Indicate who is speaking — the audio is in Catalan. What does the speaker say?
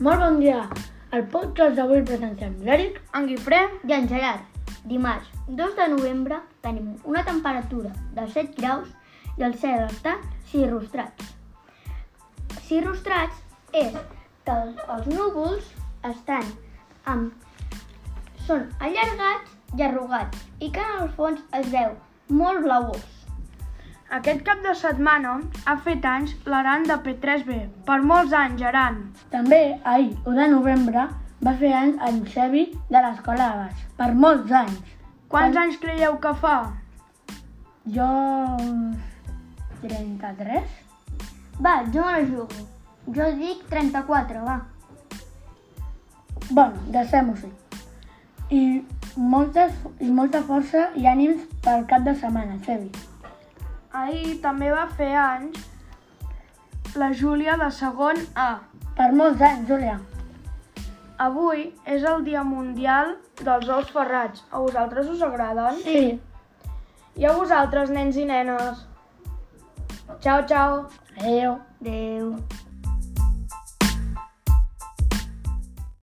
Speaker 1: Molt bon dia. Al podcast d'avui presentem l'Eric
Speaker 2: En Guifré,
Speaker 1: i en Gerard. Dimarts 2 de novembre tenim una temperatura de 7 graus i el cel està cirrostrats. Cirrostrats és que el- els núvols estan amb... són allargats i arrugats i que en el fons es veu molt blavós.
Speaker 2: aquest cap de setmana ha fet anys l'Aran de P3B. Per molts anys, Aran.
Speaker 1: També ahir, 1 de novembre, va fer anys en Xevi de l'Escola de Baix, per molts anys.
Speaker 2: Quants anys creieu que fa?
Speaker 1: Jo... 33? Va, jo me la jugo. Jo dic 34, va. Bueno, deixem-ho així. I, moltes, I molta força i ànims pel cap de setmana, Xevi.
Speaker 2: Ahir també va fer anys la Júlia de segon A.
Speaker 1: Per molts anys, Júlia.
Speaker 2: Avui és el Dia Mundial dels Ous Ferrats. A vosaltres us agraden?
Speaker 1: Sí.
Speaker 2: I a vosaltres, nens i nenes? Ciao, ciao.
Speaker 1: Adéu. Adéu.